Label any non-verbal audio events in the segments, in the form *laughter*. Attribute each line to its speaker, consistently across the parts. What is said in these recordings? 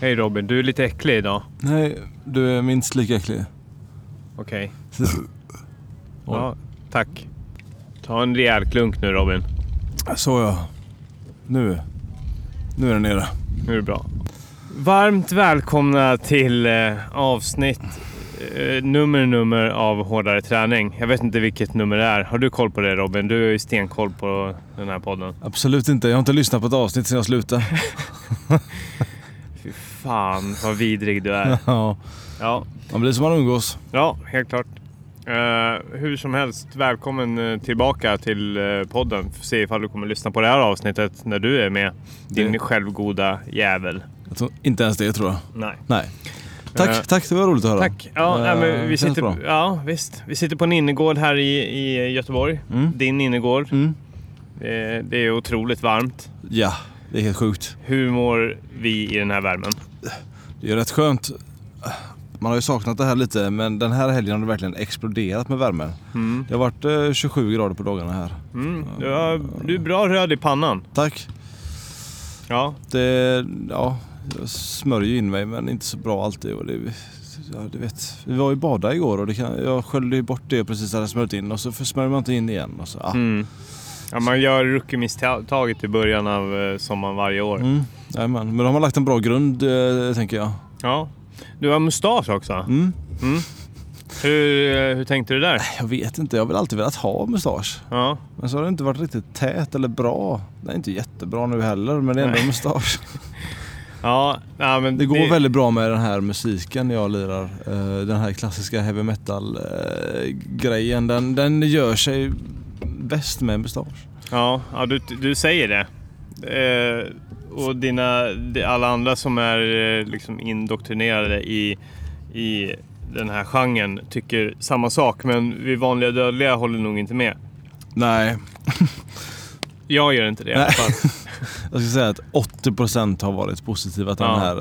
Speaker 1: Hej Robin, du är lite äcklig idag.
Speaker 2: Nej, du är minst lika äcklig.
Speaker 1: Okej.
Speaker 2: Oj.
Speaker 1: Ja, tack. Ta en rejäl klunk nu Robin.
Speaker 2: Så ja. Nu. Nu är den nere.
Speaker 1: Nu är det bra. Varmt välkomna till eh, avsnitt eh, nummer nummer av Hårdare träning. Jag vet inte vilket nummer det är. Har du koll på det Robin? Du har ju stenkoll på den här podden.
Speaker 2: Absolut inte. Jag har inte lyssnat på ett avsnitt sedan jag slutade. *laughs*
Speaker 1: Fy fan vad vidrig du
Speaker 2: *laughs*
Speaker 1: är.
Speaker 2: ja.
Speaker 1: Ja,
Speaker 2: Man blir som man umgås.
Speaker 1: ja helt klart. Eh, hur som helst, välkommen eh, tillbaka till eh, podden. Får se ifall du kommer lyssna på det här avsnittet när du är med. Din
Speaker 2: Det-
Speaker 1: självgoda jävel.
Speaker 2: Jag tror, inte ens det tror jag.
Speaker 1: Nej.
Speaker 2: Nej. Tack,
Speaker 1: Eh,
Speaker 2: tack. Det var roligt att höra.
Speaker 1: Tack! Ja, nej, men vi
Speaker 2: känns bra.
Speaker 1: sitter, ja, visst. Vi sitter på en innergård här i, i Göteborg.
Speaker 2: Mm.
Speaker 1: Din innergård.
Speaker 2: Mm.
Speaker 1: Eh, Det är otroligt varmt.
Speaker 2: Ja, det är helt sjukt.
Speaker 1: Hur mår vi i den här värmen?
Speaker 2: Det är rätt skönt. Man har ju saknat det här lite, men den här helgen har det verkligen exploderat med värmen.
Speaker 1: Mm.
Speaker 2: Det har varit eh, 27 grader på dagarna här.
Speaker 1: Mm. Du, har, du är bra röd i pannan.
Speaker 2: Tack.
Speaker 1: Ja,
Speaker 2: Det, eh, ja, jag smörjer ju in mig men inte så bra alltid. Och det, ja, du vet, vi var ju bada igår och det kan, jag sköljde ju bort det jag precis hade smörjt in och så för- smörjer man inte in igen. Och så, ah.
Speaker 1: Mm. Ja, man gör rookie-misstaget i början av eh, sommaren varje år.
Speaker 2: mm. Jajamän. Men då har man lagt en bra grund eh, tänker jag.
Speaker 1: Ja. Du har mustasch också.
Speaker 2: Mm.
Speaker 1: Hur, eh, hur tänkte du där?
Speaker 2: Jag vet inte, jag har väl alltid velat ha mustasch.
Speaker 1: Ja.
Speaker 2: Men så har det inte varit riktigt tät eller bra. Det är inte jättebra nu heller men det är ändå
Speaker 1: Nej.
Speaker 2: mustasch.
Speaker 1: Ja, nej, men
Speaker 2: Det går väldigt bra med den här musiken jag lirar. Eh, Den här klassiska heavy metal eh, grejen. Den, den gör sig bäst med mustasch.
Speaker 1: Ja, ja du, du säger det. Eh, och dina, de- alla andra som är eh, liksom indoktrinerade i, i den här genren tycker samma sak, men vi vanliga dödliga håller nog inte med.
Speaker 2: Nej,
Speaker 1: Jag gör inte det i alla
Speaker 2: Nej. *laughs*
Speaker 1: fall.
Speaker 2: jag ska säga att 80% har varit positiva till
Speaker 1: Ja.
Speaker 2: den här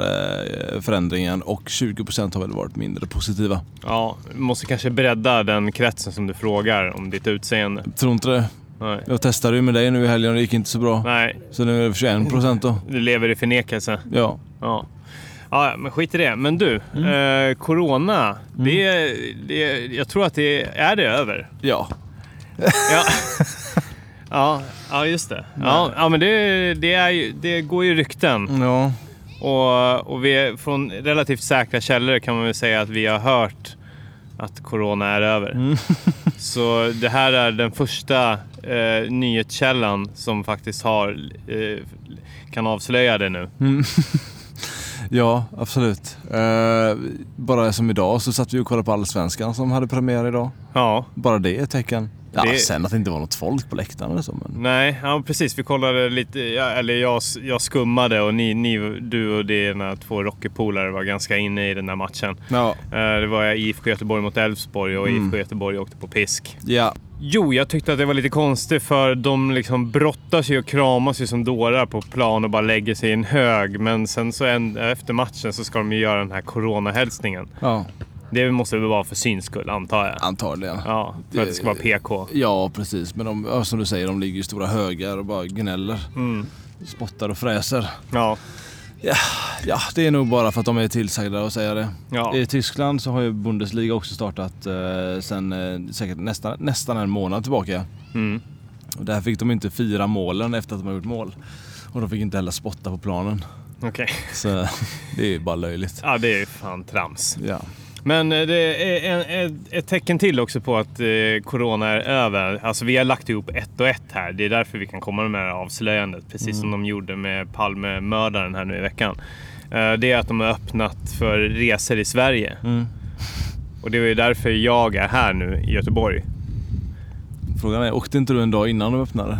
Speaker 2: eh, förändringen och 20% har väl varit mindre positiva.
Speaker 1: Ja, vi måste kanske bredda den kretsen som du frågar om ditt utseende.
Speaker 2: Tror inte det.
Speaker 1: Nej,
Speaker 2: Jag testade ju med dig nu i helgen och det gick inte så bra.
Speaker 1: Nej
Speaker 2: Så nu är det 21% då.
Speaker 1: du lever i förnekelse.
Speaker 2: Ja.
Speaker 1: Ja. Ja, ja, men skit i det. Men du, eh, corona. Det, det, jag tror att det är det över.
Speaker 2: Ja.
Speaker 1: Ja, ja, ja just det. Ja, ja men det, det, är ju, det går ju rykten.
Speaker 2: Ja.
Speaker 1: Och, och vi är, från relativt säkra källor kan man väl säga att vi har hört att corona är över. *laughs* Så det här är den första eh, nyhetskällan som faktiskt har, eh, kan avslöja det nu.
Speaker 2: Ja, absolut. Eh, bara som idag så satt vi och kollade på Allsvenskan som hade premiär idag.
Speaker 1: Ja,
Speaker 2: Bara det är ett tecken. Ja,
Speaker 1: Det-
Speaker 2: Sen att det inte var något folk på läktaren eller så. Men...
Speaker 1: nej, ja, precis. Vi kollade lite, ja, eller jag, jag skummade och ni, ni, du och dina två Rocky-polare var ganska inne i den där matchen.
Speaker 2: Ja.
Speaker 1: Eh, Det var IFK Göteborg mot Elfsborg och IFK Göteborg åkte på pisk.
Speaker 2: ja.
Speaker 1: Jo, jag tyckte att det var lite konstigt för de liksom brottas ju och kramas ju som dårar på plan och bara lägger sig i en hög. Men sen så en, efter matchen så ska de ju göra den här coronahälsningen. Det måste väl vara för syns skull, antar jag.
Speaker 2: antagligen. Ja.
Speaker 1: Ja, för att det ska vara PK.
Speaker 2: precis. Men de, ja, som du säger, de ligger i stora högar och bara gnäller. Spottar och fräser.
Speaker 1: Ja,
Speaker 2: Ja, det är nog bara för att de är tillsagda att säga det.
Speaker 1: ja.
Speaker 2: I Tyskland så har ju Bundesliga också startat eh, sen eh, säkert nästan, nästan en månad tillbaka.
Speaker 1: Mm.
Speaker 2: Och där fick de inte fira målen efter att de har gjort mål. Och de fick inte heller spotta på planen.
Speaker 1: okej.
Speaker 2: Så *laughs* det är ju bara löjligt.
Speaker 1: Ja, det är ju fan trams.
Speaker 2: Ja.
Speaker 1: Men eh, det är en, ett- ett tecken till också på att eh, corona är över. Alltså vi har lagt ihop ett och ett här. Det är därför vi kan komma med det här avslöjandet. Precis som
Speaker 2: Mm.
Speaker 1: de gjorde med Palmemördaren här nu i veckan. Eh, Det är att de har öppnat för resor i Sverige.
Speaker 2: Mm.
Speaker 1: Och det är ju därför jag är här nu i Göteborg.
Speaker 2: Frågan är, åkte inte du en dag innan de öppnade?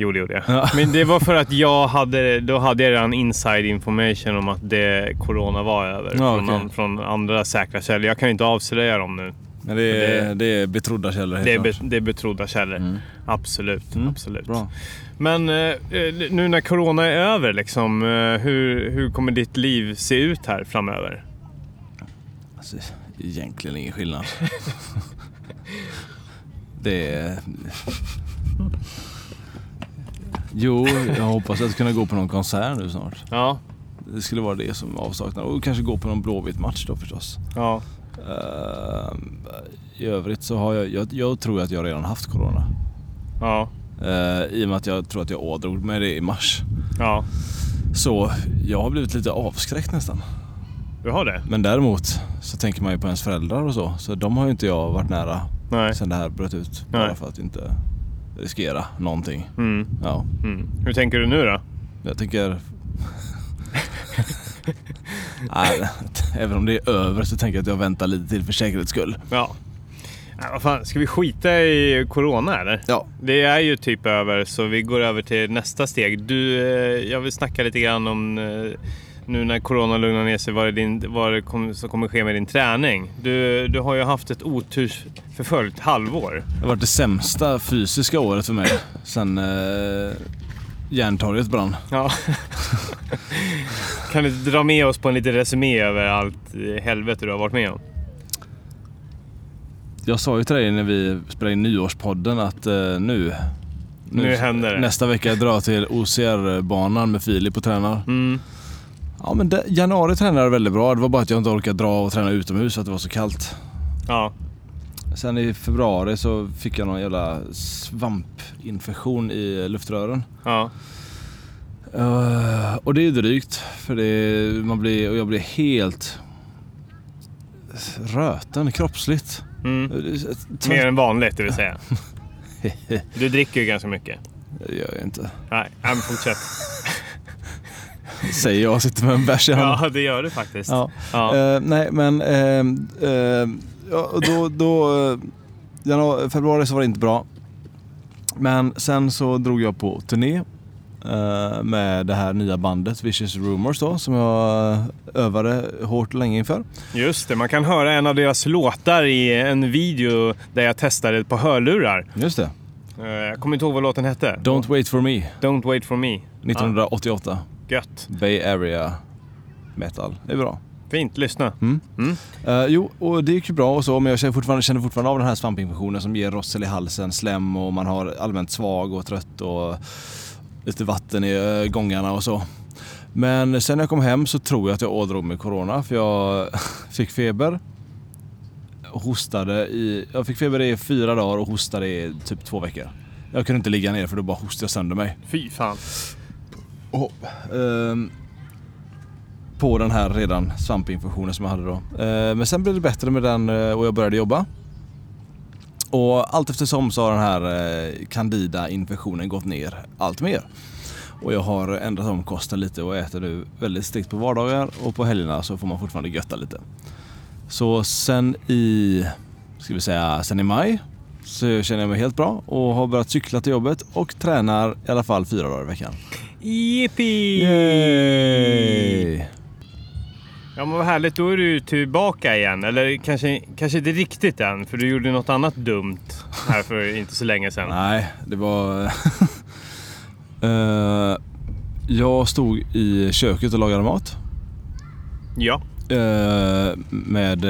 Speaker 1: Jo, det gjorde jag.
Speaker 2: Ja.
Speaker 1: Men det var för att jag hade, då hade jag redan inside information om att det, corona var över.
Speaker 2: Ja,
Speaker 1: från,
Speaker 2: okej.
Speaker 1: an- från andra säkra källor. Jag kan ju inte avslöja dem nu.
Speaker 2: Men det är, det är betrodda källor helt
Speaker 1: Det är, be,
Speaker 2: klart.
Speaker 1: det är betrodda källor. Absolut. absolut.
Speaker 2: Bra.
Speaker 1: Men eh, nu när corona är över, liksom, eh, hur, hur kommer ditt liv se ut här framöver?
Speaker 2: Alltså, egentligen ingen skillnad. *laughs* det är... Jo, jag hoppas att kunna gå på någon konsert nu snart.
Speaker 1: Ja,
Speaker 2: Det skulle vara det som avsaknad. Och kanske gå på någon blåvit match då förstås.
Speaker 1: Ja.
Speaker 2: Eh, I övrigt så har jag, jag, jag tror att jag redan haft corona.
Speaker 1: Ja.
Speaker 2: Eh, I och med att jag tror att jag ådrog mig det i mars.
Speaker 1: Ja.
Speaker 2: Så jag har blivit lite avskräckt nästan.
Speaker 1: Du har det?
Speaker 2: Men däremot så tänker man ju på ens föräldrar och så. Så de har ju inte jag varit nära
Speaker 1: Nej.
Speaker 2: sen det här bröt ut.
Speaker 1: Nej.
Speaker 2: Bara för att inte riskera någonting.
Speaker 1: Mm.
Speaker 2: Ja,
Speaker 1: Mm. Hur tänker du nu då?
Speaker 2: jag tänker... Nej, även om det är över så tänker jag att jag väntar lite till för säkerhets skull.
Speaker 1: Ja. Nej, vad fan, ska vi skita i corona eller?
Speaker 2: Ja.
Speaker 1: Det är ju typ över, så vi går över till nästa steg. Du, eh, jag vill snacka lite grann om eh, nu när corona lugnar ner sig, vad, är din, vad det kom, som kommer ske med din träning. Du, du har ju haft ett otursförföljt halvår.
Speaker 2: Det har varit det sämsta fysiska året för mig sen eh, Järntorget brann.
Speaker 1: Ja. *laughs* kan du dra med oss på en liten resumé över allt eh, helvete du har varit med om?
Speaker 2: Jag sa ju till dig när vi spelade in nyårspodden att eh, nu...
Speaker 1: Nu händer det.
Speaker 2: Nästa vecka drar jag till OCR-banan med Filip och tränar.
Speaker 1: Mm.
Speaker 2: Ja men det, januari tränade jag väldigt bra. Det var bara att jag inte orkade dra och träna utomhus för att det var så kallt.
Speaker 1: Ja.
Speaker 2: Sen i februari så fick jag någon jävla svampinfektion i luftrören.
Speaker 1: Ja.
Speaker 2: Eh, och det är ju drygt. För det, man blir, och jag blir helt röten kroppsligt.
Speaker 1: Mm.
Speaker 2: Tvärt- *laughs*
Speaker 1: Mer än vanligt, det vill säga. Du dricker ju ganska mycket.
Speaker 2: Det gör jag inte.
Speaker 1: Nej, nej, men fortsätt.
Speaker 2: Säger jag och sitter med en bärs i handen.
Speaker 1: Ja, det gör du faktiskt.
Speaker 2: Ja.
Speaker 1: Ja.
Speaker 2: Eh, nej, men ehm, ehm, ja, och då, då eh, januari, februari så var det inte bra. Men sen så drog jag på turné eh, med det här nya bandet Vicious Rumors då som jag övade hårt och länge inför.
Speaker 1: Just det, man kan höra en av deras låtar i en video där jag testade ett par hörlurar.
Speaker 2: Just det.
Speaker 1: Eh, Jag kommer inte ihåg vad låten hette.
Speaker 2: Don't Wait For Me
Speaker 1: Don't wait for me. Ah,
Speaker 2: 1988.
Speaker 1: Gött.
Speaker 2: Bay Area Metal. Det är bra.
Speaker 1: Fint, lyssna.
Speaker 2: Eh, jo, och det gick ju bra och så, men jag känner fortfarande, känner fortfarande av den här svampinfektionen som ger rossel i halsen, slem och man har allmänt svag och trött och lite vatten i eh, gångarna och så. Men sen när jag kom hem så tror jag att jag ådrog mig corona för jag *laughs* fick feber. Hostade i, jag fick feber i fyra dagar och hostade i typ två veckor. Jag kunde inte ligga ner för då bara hostade jag sönder mig.
Speaker 1: Fy fan.
Speaker 2: Ehm, på den här redan svampinfektionen som jag hade då. Ehm, men sen blev det bättre med den eh, och jag började jobba. Och allt eftersom så har den här eh, candida-infektionen gått ner allt mer. Och jag har ändrat om kosten lite och äter nu väldigt strikt på vardagar och på helgerna så får man fortfarande götta lite. Så sen i, ska vi säga, sen i maj så känner jag mig helt bra och har börjat cykla till jobbet och tränar i alla fall fyra dagar i veckan.
Speaker 1: Yippee!
Speaker 2: Yay!
Speaker 1: Ja men vad härligt, då är du tillbaka igen. Eller kanske, kanske inte riktigt än, för du gjorde något annat dumt här för inte så länge
Speaker 2: *laughs*
Speaker 1: sedan.
Speaker 2: Nej, det var... *laughs* Eh, jag stod i köket och lagade mat.
Speaker 1: Ja.
Speaker 2: eh, med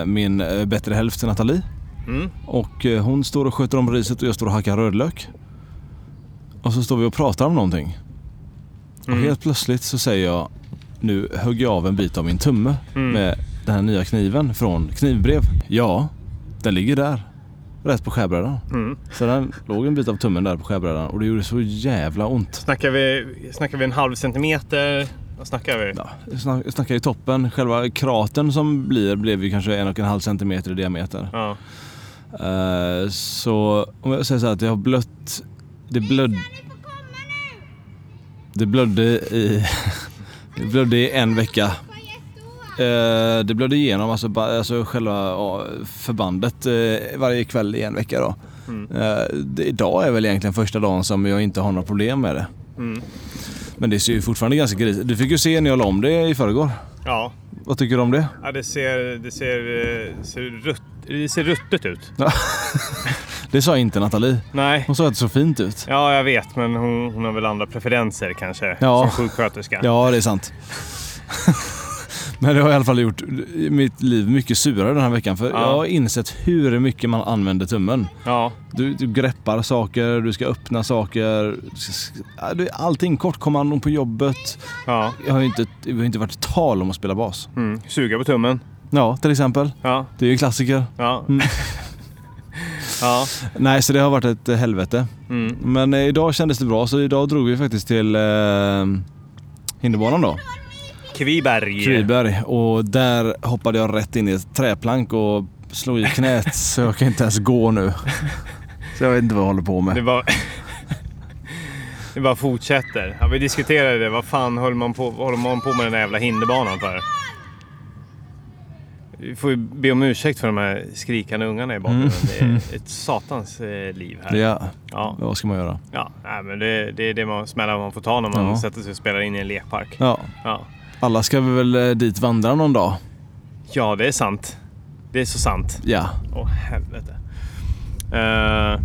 Speaker 2: eh, min eh, bättre hälft Nathalie.
Speaker 1: Mm.
Speaker 2: Och eh, hon står och sköter om riset och jag står och hackar rödlök. Och så står vi och pratar om någonting. Och
Speaker 1: Mm.
Speaker 2: helt plötsligt så säger jag... Nu högg jag av en bit av min tumme
Speaker 1: Mm.
Speaker 2: med den här nya kniven från knivbrev. Ja, den ligger där. Rätt på skärbrädan.
Speaker 1: Mm.
Speaker 2: Så den låg en bit av tummen där på skärbrädan och det gjorde så jävla ont.
Speaker 1: Snackar, vi, snackar vi en halv centimeter? Vad snackar vi?
Speaker 2: Ja, jag snack- jag snackar ju toppen. Själva kraten som blir blev ju kanske en och en halv centimeter i diameter.
Speaker 1: Ja.
Speaker 2: Eh, så om jag säger så här att jag har blött... Det blöd... Det blödde i... *laughs* det blödde i en vecka. Eh, det blödde igenom alltså, ba- alltså själva ja, förbandet eh, varje kväll i en vecka då.
Speaker 1: Mm.
Speaker 2: Eh, det, idag är väl egentligen första dagen som jag inte har några problem med det.
Speaker 1: Mm.
Speaker 2: Men det ser ju fortfarande ganska grisigt Du fick ju se när jag la om det i förrgår.
Speaker 1: Ja.
Speaker 2: Vad tycker du om det?
Speaker 1: Ja, det ser, det ser, eh, ser, rutt, det ser ruttet ut.
Speaker 2: Det sa inte Nathalie.
Speaker 1: Nej.
Speaker 2: Hon sa att det såg fint ut.
Speaker 1: Ja, jag vet, men hon, hon har väl andra preferenser kanske som
Speaker 2: Ja.
Speaker 1: sjuksköterska.
Speaker 2: Ja, det är sant. *laughs* Men det har i alla fall gjort mitt liv mycket surare den här veckan. För
Speaker 1: Ja.
Speaker 2: jag har insett hur mycket man använder tummen.
Speaker 1: Ja,
Speaker 2: Du, du greppar saker, du ska öppna saker. du ska- ja, du- Allting. Kortkommandon på jobbet.
Speaker 1: ja.
Speaker 2: Jag har ju inte, det har ju inte varit tal om att spela bas.
Speaker 1: Mm. Suga på tummen.
Speaker 2: Ja, till exempel.
Speaker 1: Ja,
Speaker 2: Det är ju en klassiker.
Speaker 1: ja.
Speaker 2: Mm.
Speaker 1: *laughs* ja.
Speaker 2: Nej, så det har varit ett eh, helvete.
Speaker 1: Mm.
Speaker 2: Men eh, idag kändes det bra, så idag drog vi faktiskt till eh, hinderbanan då.
Speaker 1: Kviberg.
Speaker 2: Friberg. Och där hoppade jag rätt in i ett träplank och slog i
Speaker 1: *laughs*
Speaker 2: knät så jag kan inte ens gå nu. Så jag vet inte vad jag håller på
Speaker 1: Det
Speaker 2: med.
Speaker 1: bara... *laughs* Det bara fortsätter. Ja, vi diskuterade det. Vad fan höll man på, vad håller man på med den där jävla hinderbanan för? Vi får ju be om ursäkt för de här skrikande ungarna i bakgrunden. Det är ett satans eh, liv här.
Speaker 2: Mm. Ja,
Speaker 1: Ja,
Speaker 2: vad ska man göra?
Speaker 1: ja. Nej, men det, det är det man, smällar man får ta när man
Speaker 2: Ja.
Speaker 1: sätter sig och spelar in i en lekpark. Ja.
Speaker 2: Ja,
Speaker 1: Ja.
Speaker 2: alla ska vi väl eh, dit vandra någon dag?
Speaker 1: det är sant. Det är så sant.
Speaker 2: Ja.
Speaker 1: Åh, helvete. Eh,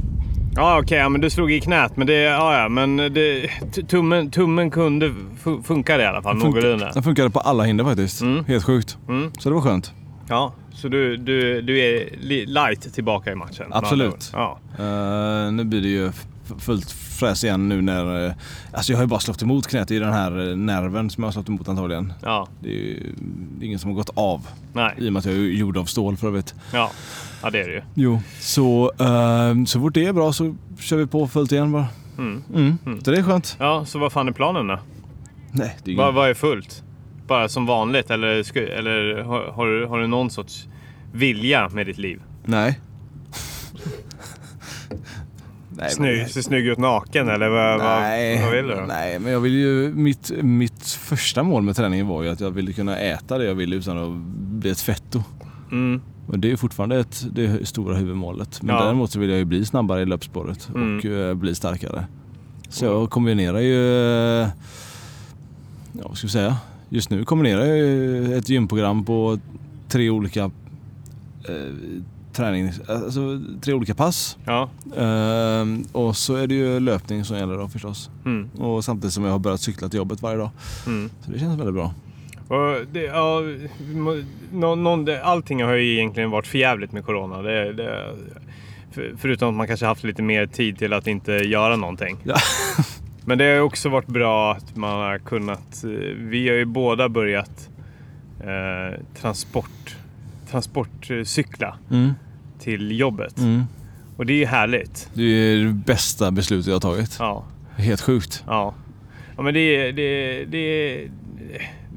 Speaker 1: ja, okej, ja, men du slog i knät. Men det, ja, ja, men det, t- tummen, tummen kunde fu- funka det i alla fall. Någorlunda.
Speaker 2: Den funkade på alla hinder faktiskt. Helt sjukt.
Speaker 1: Mm.
Speaker 2: Så det var skönt.
Speaker 1: Ja, så du, du, du är li- light tillbaka i matchen. med
Speaker 2: Absolut.
Speaker 1: andra ord. Ja.
Speaker 2: Eh, nu blir det ju f- fullt fräs igen nu när... eh, alltså jag har ju bara slått emot knät. Det är ju den här eh, nerven som jag har slått emot antagligen.
Speaker 1: Ja,
Speaker 2: Det är ju det är ingen som har gått av. I
Speaker 1: nej.
Speaker 2: och med att jag är gjord av stål för övrigt.
Speaker 1: Ja. ja, det är det ju.
Speaker 2: Jo. Så, eh, så fort det är bra så kör vi på fullt igen bara.
Speaker 1: Mm.
Speaker 2: Mm. Så det är skönt.
Speaker 1: Ja, så vad fan är planen då?
Speaker 2: Nej, det är
Speaker 1: Vad,
Speaker 2: ingen...
Speaker 1: vad är fullt? Bara som vanligt? Eller, sku, eller har, har, du, har du någon sorts vilja med ditt liv?
Speaker 2: Nej. Nej,
Speaker 1: Snygg, ser snygg ut naken eller vad, vad-
Speaker 2: Nej,
Speaker 1: vad vill du?
Speaker 2: nej, men jag vill ju... Mitt, mitt första mål med träningen var ju att jag ville kunna äta det jag ville utan att bli ett fetto.
Speaker 1: Mm.
Speaker 2: Och det är ju fortfarande ett, det stora huvudmålet. Men
Speaker 1: Ja.
Speaker 2: däremot så vill jag ju bli snabbare i löpspåret
Speaker 1: Mm.
Speaker 2: och eh, bli starkare. Så jag kombinerar ju... eh, Ja, vad ska vi säga? Just nu kombinerar jag ju ett gymprogram på tre olika eh, tränings... Alltså tre olika pass.
Speaker 1: Ja.
Speaker 2: Eh, och så är det ju löpning som gäller då förstås.
Speaker 1: Mm.
Speaker 2: Och samtidigt som jag har börjat cykla till jobbet varje dag.
Speaker 1: Mm.
Speaker 2: Så det känns väldigt bra.
Speaker 1: Och det, ja, vi må- nå- någon, det, allting har ju egentligen varit för jävligt med corona. Det, det, för, förutom att man kanske haft lite mer tid till att inte göra någonting.
Speaker 2: Ja.
Speaker 1: Men det har ju också varit bra att man har kunnat... eh, Vi har ju båda börjat eh, transport, transportcykla
Speaker 2: Mm.
Speaker 1: till jobbet.
Speaker 2: Mm.
Speaker 1: Och det är ju härligt.
Speaker 2: *laughs* Det är det bästa beslutet jag har tagit.
Speaker 1: Ja,
Speaker 2: Helt sjukt.
Speaker 1: ja. ja men det, är- det, är- det, är-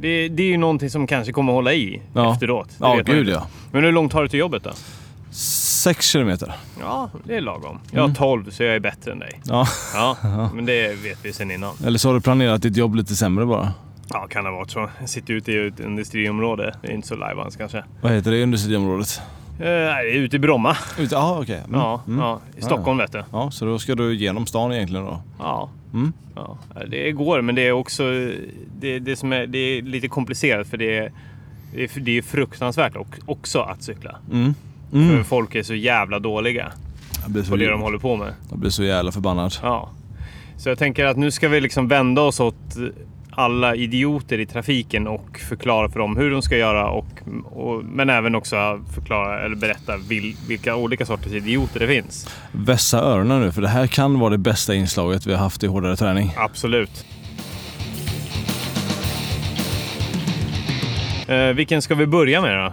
Speaker 1: det, är- det är ju någonting som kanske kommer hålla i
Speaker 2: Ja.
Speaker 1: efteråt. Det
Speaker 2: Ja,
Speaker 1: vet man
Speaker 2: gud
Speaker 1: inte.
Speaker 2: ja.
Speaker 1: Men hur långt har du till jobbet då?
Speaker 2: Sex kilometer.
Speaker 1: Ja, det är lagom. Jag har 12 så jag är bättre än dig.
Speaker 2: Mm. *laughs* Ja.
Speaker 1: Ja, men det vet vi sedan innan.
Speaker 2: Eller så har du planerat ditt jobb lite sämre bara.
Speaker 1: Ja, kan det ha varit så. Jag sitter ute i ett industriområde. Det är inte så lajbans kanske. Eh,
Speaker 2: Vad heter det industriområdet?
Speaker 1: nej, det är ute i Bromma.
Speaker 2: Ut- Ja, okej. Mm.
Speaker 1: Ja, ja. I Stockholm vet du.
Speaker 2: ja. Så då ska du genom stan egentligen då?
Speaker 1: Ja.
Speaker 2: Mm.
Speaker 1: ja. Det går, men det är också... Det, det, som är, det är lite komplicerat för det är, det är, det är fruktansvärt och- också att cykla.
Speaker 2: Mm. Mm.
Speaker 1: För folk är så jävla dåliga
Speaker 2: Jag blir, så,
Speaker 1: på det de håller på med.
Speaker 2: jag blir så jävla förbannad.
Speaker 1: Ja. Så jag tänker att nu ska vi liksom vända oss åt alla idioter i trafiken och förklara för dem hur de ska göra. Och, och, men även också förklara eller berätta vil, vilka olika sorters idioter det finns.
Speaker 2: Vässa öronen nu, för det här kan vara det bästa inslaget vi har haft i hårdare träning.
Speaker 1: Absolut. Eh, vilken ska vi börja med då?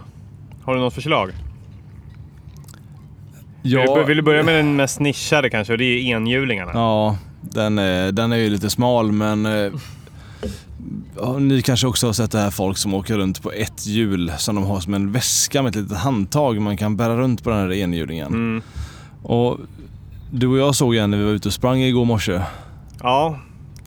Speaker 1: Har du något förslag? Vill, du, vill du börja med den mest nischade kanske? Och det är enhjulingarna.
Speaker 2: Ja, den är, den är ju lite smal men... eh, Ja, ni kanske också har sett det här folk som åker runt på ett hjul som de har som en väska med ett litet handtag man kan bära runt på den här enhjulingen.
Speaker 1: Mm.
Speaker 2: Och du och jag såg en när vi var ute och sprang igår morse.
Speaker 1: Ja,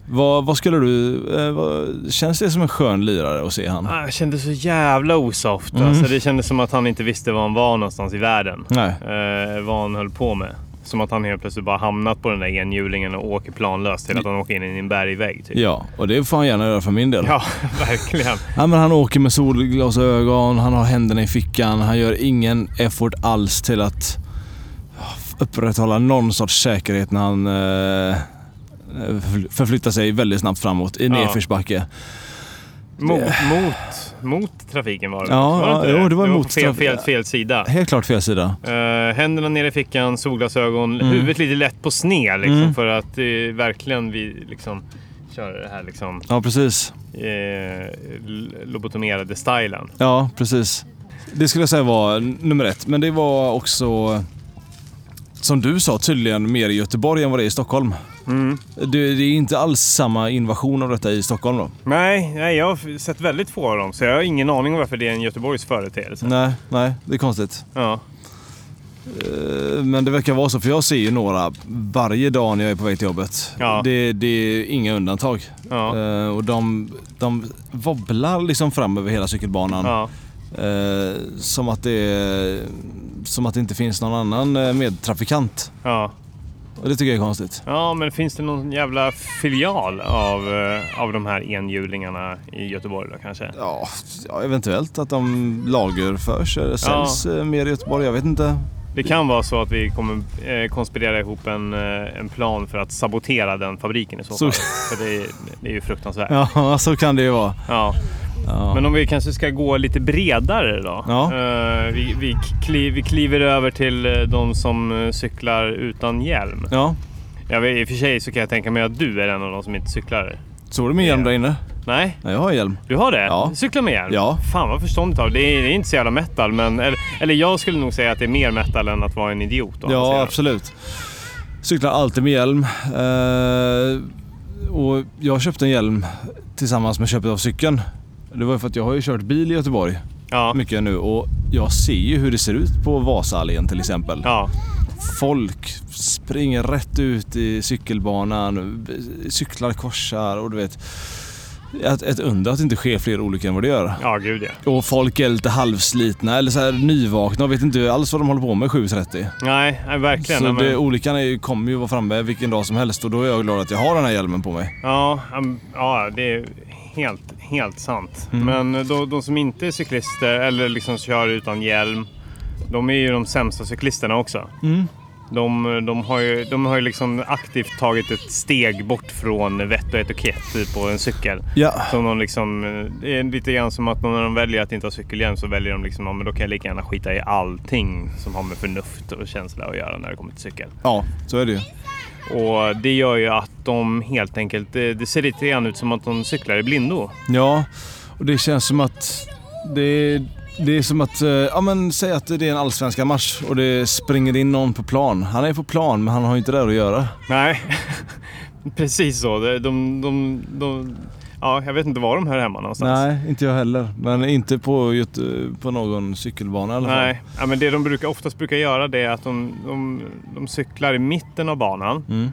Speaker 2: Vad, vad skulle du... Eh, vad, känns det som en skön lirare att se han?
Speaker 1: Ah, Jag kände så jävla osoft.
Speaker 2: Mm.
Speaker 1: Alltså, det kändes som att han inte visste var han var någonstans i världen.
Speaker 2: Nej.
Speaker 1: Eh, vad han höll på med. Som att han helt plötsligt bara hamnat på den där enhjulingen och åker planlöst till att han åker in i en bergvägg. Typ.
Speaker 2: Ja, och det får han gärna göra för min del.
Speaker 1: Ja, *laughs* verkligen.
Speaker 2: Ja, men han åker med solglasögon, han har händerna i fickan, han gör ingen effort alls till att upprätthålla någon sorts säkerhet när han eh, förflyttar sig väldigt snabbt framåt i
Speaker 1: Ja.
Speaker 2: nedförsbacke.
Speaker 1: Mot, mot, mot trafiken var det.
Speaker 2: Ja,
Speaker 1: var
Speaker 2: ja,
Speaker 1: inte
Speaker 2: jo, det var
Speaker 1: på
Speaker 2: mot
Speaker 1: fel,
Speaker 2: traf-
Speaker 1: fel, fel sida.
Speaker 2: Helt klart fel sida.
Speaker 1: Eh, händerna nere i fickan, solglasögon, huvudet lite lätt på sned liksom,
Speaker 2: Mm.
Speaker 1: för att eh, verkligen vi liksom kör det här liksom,
Speaker 2: Ja, precis.
Speaker 1: eh, l- lobotomerade stylen.
Speaker 2: Ja, precis. Det skulle jag säga var n- nummer ett. Men det var också, som du sa, tydligen mer i Göteborg än vad det är i Stockholm. Det, det är inte alls samma invasion av detta i Stockholm då.
Speaker 1: Nej, nej, jag har sett väldigt få av dem så jag har ingen aning om varför det är en Göteborgs företeelse.
Speaker 2: Nej, nej, det är konstigt.
Speaker 1: Ja.
Speaker 2: Eh, Men det verkar vara så, för jag ser ju några varje dag när jag är på väg till jobbet.
Speaker 1: Ja.
Speaker 2: Det, det är inga undantag.
Speaker 1: Ja.
Speaker 2: Eh, Och de, de wobblar liksom fram över hela cykelbanan.
Speaker 1: Ja.
Speaker 2: Eh, som, att det, som att det inte finns någon annan eh, medtrafikant.
Speaker 1: Ja.
Speaker 2: Och det tycker jag är konstigt.
Speaker 1: ja, men finns det någon jävla filial av, eh, av de här enhjulingarna i Göteborg då kanske?
Speaker 2: Ja, ja, eventuellt att de lagerförs eller
Speaker 1: Ja.
Speaker 2: säljs eh, mer i Göteborg. Jag vet inte.
Speaker 1: Det kan vara så att vi kommer eh, konspirera ihop en, eh, en plan för att sabotera den fabriken i så
Speaker 2: Så-
Speaker 1: fall. För det är, det är ju fruktansvärt. Ja.
Speaker 2: Ja, så kan det ju vara. Ja.
Speaker 1: Men om vi kanske ska gå lite bredare då.
Speaker 2: Ja.
Speaker 1: Eh, vi, vi, kli, vi kliver över till eh, de som eh, cyklar utan hjälm.
Speaker 2: Ja,
Speaker 1: Jag vet, I och för sig så kan jag tänka mig att du är en av de som inte cyklar.
Speaker 2: såg du min hjälm där inne?
Speaker 1: Nej,
Speaker 2: Nej, jag har hjälm.
Speaker 1: du har det?
Speaker 2: Ja.
Speaker 1: Cykla med hjälm?
Speaker 2: Ja.
Speaker 1: Fan vad förståndigt av dig. det, är- det är inte så jävla metal, men... Eller, eller jag skulle nog säga att det är mer metal än att vara en idiot. å andra
Speaker 2: Ja,
Speaker 1: sidan.
Speaker 2: absolut. Cyklar alltid med hjälm. Eh, och jag köpte en hjälm tillsammans med köpet av cykeln. Det var ju för att jag har ju kört bil i Göteborg
Speaker 1: Ja.
Speaker 2: mycket nu och jag ser ju hur det ser ut på Vasaallén till exempel.
Speaker 1: ja.
Speaker 2: Folk springer rätt ut i cykelbanan, cyklar korsar och du vet. Ett, ett under att det inte sker fler olyckor än vad det gör.
Speaker 1: Ja, gud ja.
Speaker 2: Och folk är lite halvslitna eller så här nyvakna och vet inte alls vad de håller på med 7.30.
Speaker 1: Nej, nej verkligen.
Speaker 2: Så
Speaker 1: Ja, men,
Speaker 2: det, olyckan är, ju- kommer ju vara framme vilken dag som helst och då är jag glad att jag har den här hjälmen på mig.
Speaker 1: ja, um, ja, det är helt, helt sant.
Speaker 2: Mm.
Speaker 1: Men de, de som inte är cyklister eller liksom kör utan hjälm, de är ju de sämsta cyklisterna också.
Speaker 2: Mm.
Speaker 1: De, de, har ju, de har ju liksom aktivt tagit ett steg bort från vett och etikett typ, på en cykel.
Speaker 2: Ja.
Speaker 1: Som de liksom, eh, det är lite grann som att när de väljer att inte ha cykelhjälm så väljer de liksom, ja, men då kan jag lika gärna skita i allting som har med förnuft och känsla att göra när det kommer till cykel.
Speaker 2: Ja, så är det ju.
Speaker 1: Och det gör ju att de helt enkelt, det, det ser lite grann ut som att de cyklar i blindo.
Speaker 2: Ja, och det känns som att det är, det är som att, eh, ja men säg att det är en allsvenska match och det springer in någon på plan. Han är på plan men han har ju inte där att göra.
Speaker 1: Nej, *laughs* precis så. De, de, de, de, ja, jag vet inte var de hör hemma någonstans.
Speaker 2: Nej, inte jag heller. Men inte på, Göte- på någon cykelbana i alla fall.
Speaker 1: Nej. Ja, men det de brukar, oftast brukar göra det är att de, de, de cyklar i mitten av banan
Speaker 2: Mm.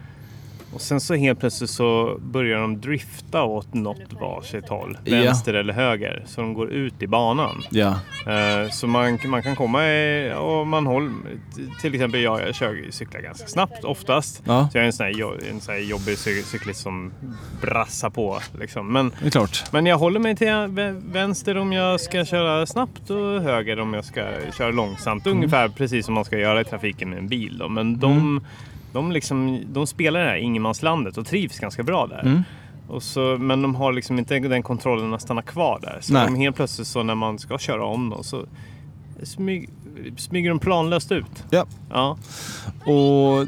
Speaker 1: och sen så helt plötsligt så börjar de drifta åt något varsitt håll.
Speaker 2: Ja.
Speaker 1: Vänster eller höger. Så de går ut i banan.
Speaker 2: Ja.
Speaker 1: Eh, Så man, man kan komma i- och man håller, till exempel jag, jag kör, cyklar ganska snabbt oftast.
Speaker 2: Ja,
Speaker 1: Så jag är en sån här, jo- en sån här jobbig cy- cyklist som brassar på. Liksom. Men,
Speaker 2: det är klart.
Speaker 1: men jag håller mig till vä- vänster om jag ska köra snabbt och höger om jag ska köra långsamt.
Speaker 2: Mm.
Speaker 1: Ungefär precis som man ska göra i trafiken med en bil. Då. Men de,
Speaker 2: Mm.
Speaker 1: de, liksom, de spelar det här ingenmanslandet och trivs ganska bra där.
Speaker 2: Mm.
Speaker 1: Och så, men de har liksom inte den kontrollen att stanna kvar där. Så
Speaker 2: Nej.
Speaker 1: de helt plötsligt så när man ska köra om dem så smyg, smyger de planlöst ut.
Speaker 2: Ja.
Speaker 1: Ja,
Speaker 2: Och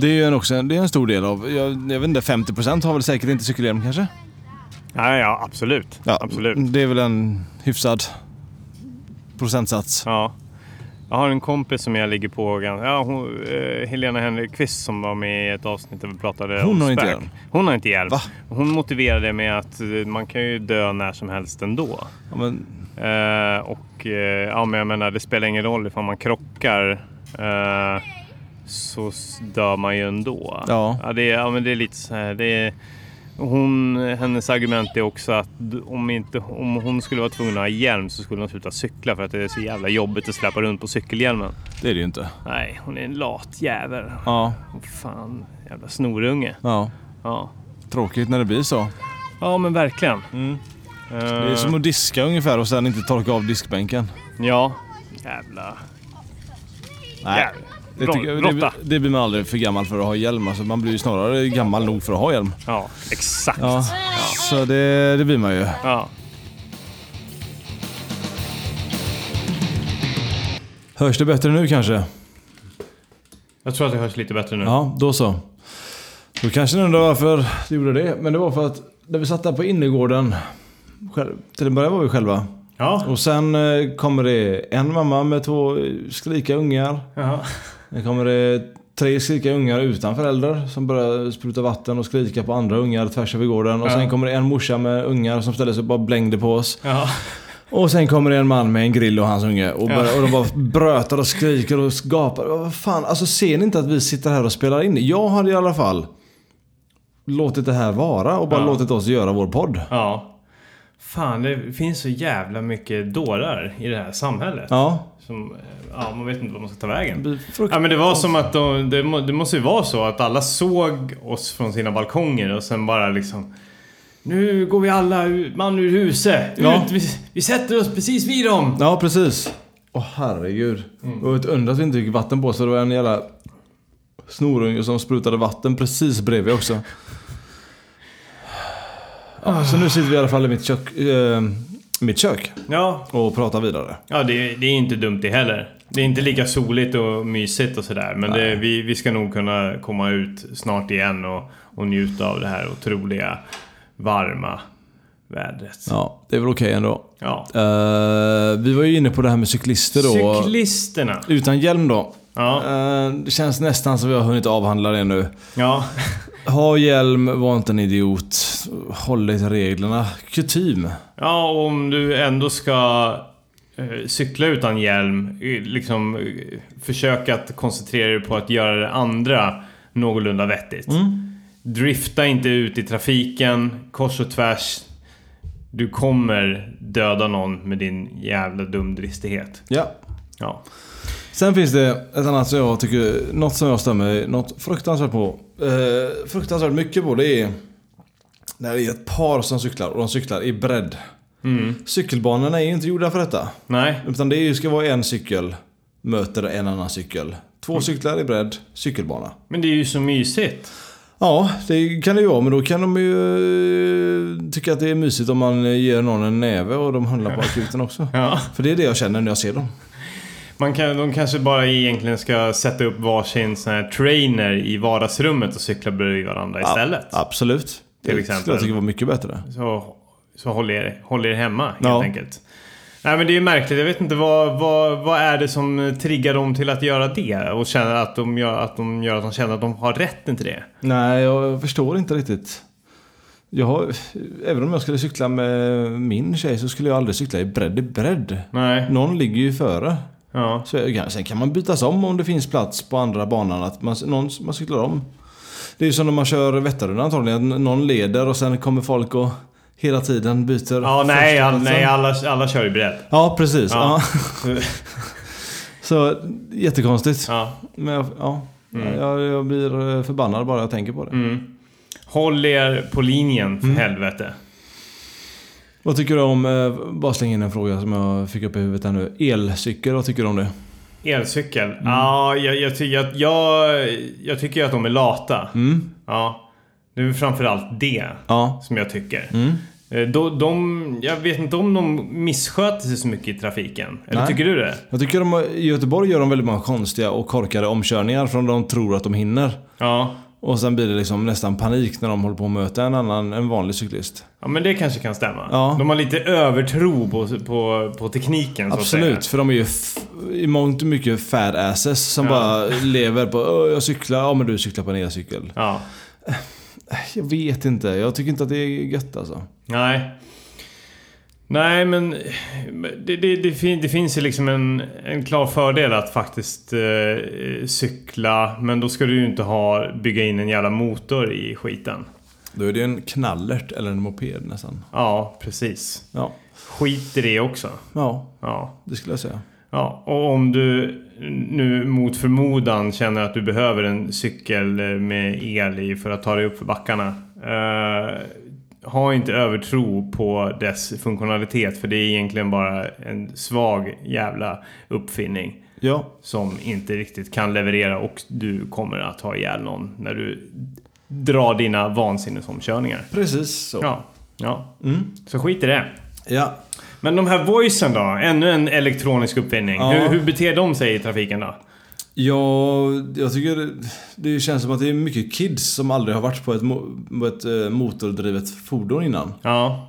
Speaker 2: det är ju en också, det är en stor del av, jag, jag vet inte, 50% har väl säkert inte cykelhjälm kanske?
Speaker 1: ja, ja absolut. absolut.
Speaker 2: Det är väl en hyfsad procentsats.
Speaker 1: Ja. Jag har en kompis som jag ligger på. gan- Ja, hon, eh, Helena Henrikqvist som var med i ett avsnitt där vi pratade
Speaker 2: Hon
Speaker 1: om
Speaker 2: har inte
Speaker 1: spök.
Speaker 2: hjälm.
Speaker 1: Hon har inte hjälm.
Speaker 2: Va?
Speaker 1: Hon motiverade det med att eh, man kan ju dö när som helst ändå.
Speaker 2: Ja, men,
Speaker 1: Eh, och eh, ja, men jag menar, det spelar ingen roll ifall man krockar. Eh, så s- dör man ju ändå.
Speaker 2: Ja.
Speaker 1: Ja, det, är- ja, men det är lite så här. Det är, hon, hennes argument är också att d- om, inte, om hon skulle vara tvungen att ha hjälm så skulle hon sluta cykla för att det är så jävla jobbigt att släppa runt på cykelhjälmen.
Speaker 2: det är det ju inte.
Speaker 1: Nej, hon är en lat jävel.
Speaker 2: Ja,
Speaker 1: Åh, Fan, jävla snorunge.
Speaker 2: ja.
Speaker 1: Ja,
Speaker 2: Tråkigt när det blir så.
Speaker 1: ja men verkligen.
Speaker 2: Mm.
Speaker 1: Eh,
Speaker 2: Det är som att diska ungefär och sen inte torka av diskbänken.
Speaker 1: Ja, jävla...
Speaker 2: Nej.
Speaker 1: jävla-
Speaker 2: Det, tycker jag, det,
Speaker 1: Råtta.
Speaker 2: det blir man aldrig för gammal för att ha hjälm. Alltså, man blir ju snarare gammal nog för att ha hjälm.
Speaker 1: Ja, exakt.
Speaker 2: Ja. Så det, det blir man ju.
Speaker 1: Ja.
Speaker 2: Hörs det bättre nu kanske?
Speaker 1: Jag tror att det hörs lite bättre nu.
Speaker 2: Ja, då så. Då kanske ni undrar varför du gjorde det. Men det var för att när vi satt där på innergården. själv- Till en början var vi själva.
Speaker 1: Ja.
Speaker 2: Och sen eh, kommer det en mamma med två eh, skrika ungar.
Speaker 1: Jaha.
Speaker 2: Sen kommer det tre skrika ungar utan föräldrar som börjar spruta vatten och skrika på andra ungar tvärs över gården. Och
Speaker 1: Ja.
Speaker 2: sen kommer det en morsa med ungar som ställer sig och bara blängde på oss.
Speaker 1: Ja.
Speaker 2: Och sen kommer det en man med en grill och hans unge och,
Speaker 1: Ja.
Speaker 2: börjar, och de bara brötar och skriker och gapar. Vad fan, alltså ser ni inte att vi sitter här och spelar in? Jag hade i alla fall låtit det här vara och bara
Speaker 1: Ja.
Speaker 2: låtit oss göra vår podd.
Speaker 1: ja. Fan, det finns så jävla mycket dårar i det här samhället.
Speaker 2: Ja,
Speaker 1: Som, eh, ja, man vet inte vad man ska ta vägen.
Speaker 2: det blir frukt-
Speaker 1: Ja, men det var som att de, det, må, det måste ju vara så att alla såg oss från sina balkonger och sen bara liksom Nu går vi alla u- man ur huset.
Speaker 2: Ja.
Speaker 1: Ut, vi, vi sätter oss precis vid dem.
Speaker 2: ja precis. Åh herregud. Det var ett under att vi inte fick vatten på oss. för Det var en jävla snorunge som sprutade vatten precis bredvid också. Ja, så nu sitter vi i alla fall i mitt kök, eh, mitt kök
Speaker 1: Ja,
Speaker 2: och pratar vidare.
Speaker 1: ja det, det är inte dumt det heller. Det är inte lika soligt och mysigt och sådär. Men det, vi, vi ska nog kunna komma ut snart igen och, och njuta av det här otroliga varma vädret.
Speaker 2: Ja, det är väl okej ändå.
Speaker 1: Ja.
Speaker 2: Eh, vi var ju inne på det här med cyklister då.
Speaker 1: Cyklisterna.
Speaker 2: Utan hjälm då.
Speaker 1: Ja.
Speaker 2: Eh, det känns nästan som vi har hunnit avhandla det nu.
Speaker 1: Ja.
Speaker 2: Ha hjälm, var inte en idiot. Håll dig till reglerna. Kutym.
Speaker 1: Ja, och om du ändå ska eh, cykla utan hjälm, eh, liksom eh, försök att koncentrera dig på att göra det andra någorlunda vettigt. Drifta inte ut i trafiken, kors och tvärs. Du kommer döda någon med din jävla dumdristighet.
Speaker 2: Ja.
Speaker 1: Ja.
Speaker 2: Sen finns det ett annat som jag tycker, något som jag stämmer något fruktansvärt på. Eh, fruktansvärt mycket på det är när det är ett par som cyklar och de cyklar i bredd.
Speaker 1: Mm.
Speaker 2: Cykelbanorna är ju inte gjorda för detta.
Speaker 1: Nej.
Speaker 2: Utan det är ju- ska vara en cykel möter en annan cykel. Två
Speaker 1: Mm.
Speaker 2: cyklar i bredd, cykelbana.
Speaker 1: Men det är ju så mysigt.
Speaker 2: Ja, det kan det ju vara. Men då kan de ju eh, tycka att det är mysigt om man ger någon en näve och de handlar på akuten också.
Speaker 1: Ja.
Speaker 2: För det är det jag känner när jag ser dem.
Speaker 1: Man kan, de kanske bara egentligen ska sätta upp varsin sån här trainer i vardagsrummet och cykla bredvid varandra istället.
Speaker 2: Absolut.
Speaker 1: Till
Speaker 2: det
Speaker 1: exempel.
Speaker 2: skulle jag tycka var mycket bättre.
Speaker 1: Så, så håll, er, håll er hemma helt
Speaker 2: Ja.
Speaker 1: enkelt. Nej men det är ju märkligt. Jag vet inte vad, vad, vad är det som triggar dem till att göra det? Och känner att de gör att de, gör att de känner att de har rätten till det.
Speaker 2: Nej, jag förstår inte riktigt. Jag har, även om jag skulle cykla med min tjej så skulle jag aldrig cykla i bredd i bredd.
Speaker 1: Nej.
Speaker 2: Någon ligger ju före.
Speaker 1: Ja.
Speaker 2: Så, ja, sen kan man bytas om om det finns plats på andra banan. Att man, någon, man cyklar om. Det är ju som när man kör Vätternrundan antagligen. Att någon leder och sen kommer folk och hela tiden byter.
Speaker 1: Ja, nej,
Speaker 2: första
Speaker 1: all,
Speaker 2: platsen.
Speaker 1: nej alla, alla kör i bredd.
Speaker 2: Ja, precis.
Speaker 1: Ja.
Speaker 2: Ja. *laughs* Så jättekonstigt.
Speaker 1: Ja.
Speaker 2: Men jag, ja, jag, jag blir eh, förbannad bara jag tänker på det.
Speaker 1: Mm. Håll er på linjen för helvete.
Speaker 2: Vad tycker du om, eh, bara släng in en fråga som jag fick upp i huvudet här nu. Elcykel, vad tycker du om det?
Speaker 1: Elcykel? Ja, jag, jag, ty- jag, jag, jag tycker ju att de är lata. Ja. Det är framförallt det
Speaker 2: Ja.
Speaker 1: som jag tycker.
Speaker 2: Mm.
Speaker 1: Eh, De, de, jag vet inte om de missköter sig så mycket i trafiken. Eller
Speaker 2: Nej.
Speaker 1: tycker du det?
Speaker 2: Jag tycker de, har- i Göteborg gör de väldigt många konstiga och korkade omkörningar från de tror att de hinner.
Speaker 1: Ja.
Speaker 2: Och sen blir det liksom nästan panik när de håller på att möta en annan, en vanlig cyklist.
Speaker 1: ja, men det kanske kan stämma.
Speaker 2: Ja.
Speaker 1: De har lite övertro på, på, på tekniken så att
Speaker 2: Absolut,
Speaker 1: säga.
Speaker 2: för de är ju f- i mångt och mycket fad asses som bara lever på "Åh, jag cyklar, ja men du cyklar på en elcykel. Äh,
Speaker 1: Ja.
Speaker 2: Jag vet inte, jag tycker inte att det är gött alltså.
Speaker 1: Nej. Nej, men det, det, det, fin, det finns ju liksom en, en klar fördel att faktiskt eh, cykla. Men då ska du ju inte ha, bygga in en jävla motor i skiten.
Speaker 2: Då är det en knallert eller en moped nästan.
Speaker 1: Ja, precis.
Speaker 2: Ja,
Speaker 1: Skit i det också.
Speaker 2: ja
Speaker 1: Ja.
Speaker 2: det skulle jag säga.
Speaker 1: Ja, och om du nu mot förmodan känner att du behöver en cykel med el i för att ta dig upp för backarna. Eh, ha inte övertro på dess funktionalitet för det är egentligen bara en svag jävla uppfinning
Speaker 2: Ja,
Speaker 1: som inte riktigt kan leverera och du kommer att ha ihjäl någon när du drar dina vansinnesomkörningar.
Speaker 2: precis så.
Speaker 1: Ja, ja.
Speaker 2: Mm.
Speaker 1: Så skit i det.
Speaker 2: ja.
Speaker 1: Men de här voicen då? Ännu en elektronisk uppfinning.
Speaker 2: Ja.
Speaker 1: Hur, hur beter de sig i trafiken då?
Speaker 2: Ja, jag tycker det- det känns som att det är mycket kids som aldrig har varit på ett, mo- på ett eh, motordrivet fordon innan.
Speaker 1: Ja.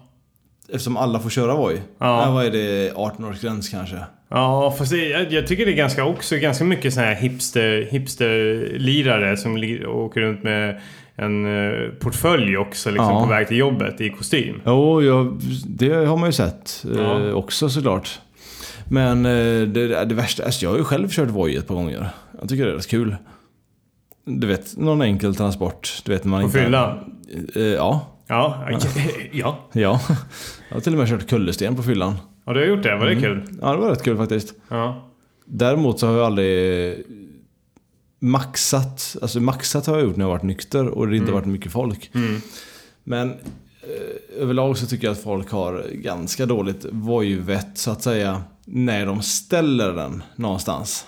Speaker 2: Eftersom alla får köra Voi.
Speaker 1: Ja.
Speaker 2: Ja. Vad är det? 18 års gräns kanske?
Speaker 1: Ja, fast det, jag, jag tycker det är ganska också ganska mycket såna här hipster, hipsterlirare som li, åker runt med en eh, portfölj också liksom,
Speaker 2: Ja.
Speaker 1: på väg till jobbet i kostym.
Speaker 2: Jo, jag, det har man ju sett
Speaker 1: Ja.
Speaker 2: eh, också såklart. Men eh, det, det värsta, alltså jag har ju själv kört Voi ett par gånger. Jag tycker det är rätt kul. Du vet, någon enkel transport. Du vet när man
Speaker 1: På fyllan.
Speaker 2: Eh, ja,
Speaker 1: Ja. *laughs* Ja. ja.
Speaker 2: ja. Jag har till och med kört kullersten på fyllan.
Speaker 1: du har gjort det. Var det kul?
Speaker 2: Ja, det var rätt kul faktiskt.
Speaker 1: Ja.
Speaker 2: Däremot så har jag aldrig maxat. Alltså maxat har jag gjort när jag har varit nykter och det inte
Speaker 1: Mm.
Speaker 2: varit mycket folk. Men eh, överlag så tycker jag att folk har ganska dåligt vojvett så att säga. När de ställer den någonstans.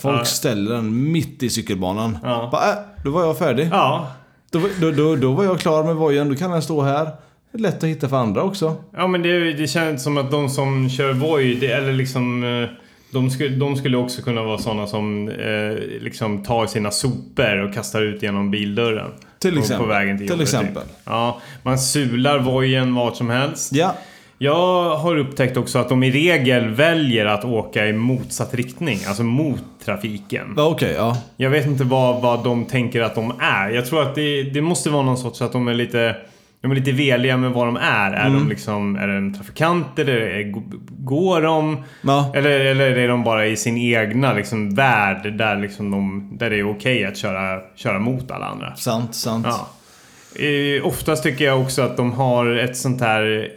Speaker 2: Folk
Speaker 1: Ja.
Speaker 2: ställer den mitt i cykelbanan.
Speaker 1: Ja.
Speaker 2: Bara, äh, då var jag färdig.
Speaker 1: Ja.
Speaker 2: Då, var- då, då, då var jag klar med vojen. Då kan den stå här. Det är lätt att hitta för andra också.
Speaker 1: Ja men det, det känns som att de som kör Voi, det, eller liksom... eh, De skulle, de skulle också kunna vara sådana som eh, liksom tar sina sopor och kastar ut genom bildörren.
Speaker 2: Till
Speaker 1: På-
Speaker 2: exempel.
Speaker 1: På vägen till,
Speaker 2: Till
Speaker 1: jobbet,
Speaker 2: exempel.
Speaker 1: Typ. Ja, man sular vojen vart som helst.
Speaker 2: Ja,
Speaker 1: Jag har upptäckt också att de i regel väljer att åka i motsatt riktning. Alltså mot trafiken.
Speaker 2: ja, okej. ja.
Speaker 1: Jag vet inte vad, vad de tänker att de är. Jag tror att det, det måste vara någon sorts att de är lite... De är lite veliga med vad de är. Är de liksom är de trafikanter? Är, är, går de?
Speaker 2: ja.
Speaker 1: Eller, eller är de bara i sin egna liksom, värld där, liksom de, där det är okej att köra, köra mot alla andra?
Speaker 2: Sant, sant.
Speaker 1: Ja. Eh, oftast tycker jag också att de har ett sånt här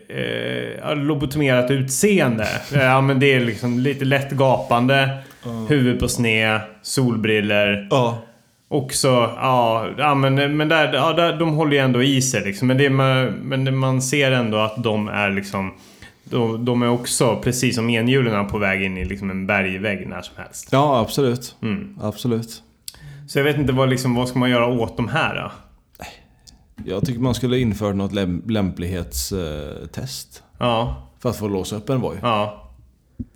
Speaker 1: eh, lobotomerat utseende. Eh, ja, men det är liksom lite lätt gapande, huvud på sned, solbriller.
Speaker 2: ja.
Speaker 1: Också, ja, ja men, men där, ja, där, de håller ju ändå i sig liksom. Men, det, man, men det, man ser ändå att de är liksom de, de är också, precis som enhjulen, på väg in i liksom en bergvägg när som helst.
Speaker 2: Ja, absolut.
Speaker 1: Mm.
Speaker 2: Absolut.
Speaker 1: Så jag vet inte vad, liksom, vad ska man göra åt de här då?
Speaker 2: Jag tycker man skulle infört något läm- lämplighetstest.
Speaker 1: Ja,
Speaker 2: För att få låsa upp en Voi.
Speaker 1: ja,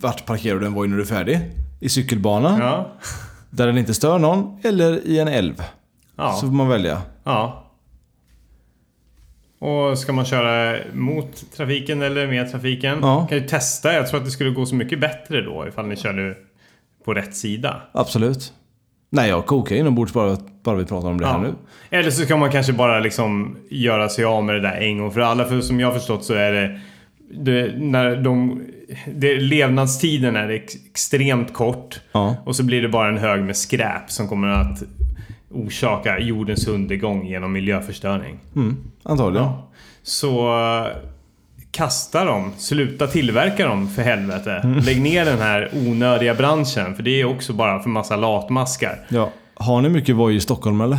Speaker 2: Vart parkerar du en Voi när du är färdig? I cykelbanan?
Speaker 1: ja.
Speaker 2: Där den inte stör någon? Eller i en älv?
Speaker 1: ja.
Speaker 2: Så får man välja.
Speaker 1: Ja. Och ska man köra mot trafiken eller med trafiken?
Speaker 2: Ja.
Speaker 1: Kan ju testa. Jag tror att det skulle gå så mycket bättre då ifall ni körde på rätt sida.
Speaker 2: Absolut. Nej, jag kokar inombords bara, bara vi pratar om det här
Speaker 1: Ja.
Speaker 2: nu.
Speaker 1: Eller så kan man kanske bara liksom göra sig av med det där en gång för alla. För som jag har förstått så är det, det när de, det, levnadstiden är ex, extremt kort.
Speaker 2: Ja.
Speaker 1: Och så blir det bara en hög med skräp som kommer att orsaka jordens undergång genom miljöförstöring.
Speaker 2: Mm, antagligen.
Speaker 1: Så eh, kasta dem, sluta tillverka dem för helvete. Lägg ner den här onödiga branschen för det är också bara för massa latmaskar.
Speaker 2: Ja. Har ni mycket Voi i Stockholm eller?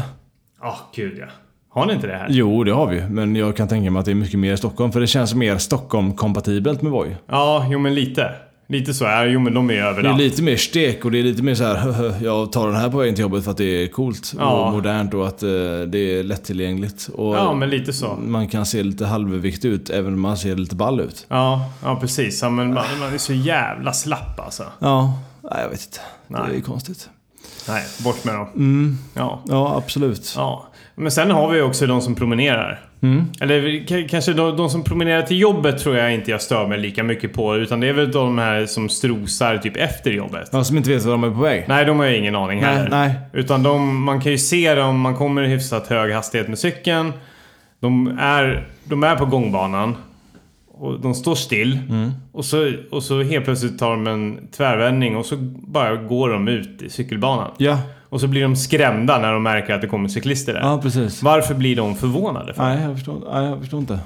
Speaker 1: Ja, gud ja. Har ni inte det här?
Speaker 2: Jo, det har vi ju. Men jag kan tänka mig att det är mycket mer i Stockholm. För det känns mer Stockholm-kompatibelt med Voi.
Speaker 1: Ja, jo men lite. Lite så är det. Jo men de är ju
Speaker 2: Det är
Speaker 1: överallt.
Speaker 2: lite mer stek och det är lite mer så här. *laughs* jag tar den här på vägen till jobbet för att det är coolt
Speaker 1: Ja.
Speaker 2: och modernt och att eh, det är lättillgängligt. Och
Speaker 1: ja, men lite så.
Speaker 2: Man kan se lite halvviktig ut även om man ser lite ball ut.
Speaker 1: Ja, ja precis. Ja, men man, man är så jävla slapp alltså.
Speaker 2: Ja, nej, jag vet inte. Det är
Speaker 1: Nej.
Speaker 2: ju konstigt.
Speaker 1: Nej, bort med dem.
Speaker 2: Mm.
Speaker 1: Ja.
Speaker 2: Ja, absolut.
Speaker 1: Ja, men sen har vi också de som promenerar.
Speaker 2: Mm.
Speaker 1: Eller vi- k- kanske de, de som promenerar till jobbet tror jag inte jag stör mig lika mycket på. Utan det är väl de här som strosar typ efter jobbet.
Speaker 2: Ja, som inte vet var de är på väg.
Speaker 1: Nej, de har jag ingen aning heller.
Speaker 2: nej.
Speaker 1: Utan de, man kan ju se dem, man kommer i hyfsat hög hastighet med cykeln. De är, de är på gångbanan. Och de står still.
Speaker 2: Mm.
Speaker 1: Och, så, och så helt plötsligt tar de en tvärvändning och så bara går de ut i cykelbanan.
Speaker 2: Ja,
Speaker 1: Och så blir de skrämda när de märker att det kommer cyklister där.
Speaker 2: ja precis.
Speaker 1: Varför blir de förvånade? För?
Speaker 2: Nej jag, förstår, nej, jag förstår inte.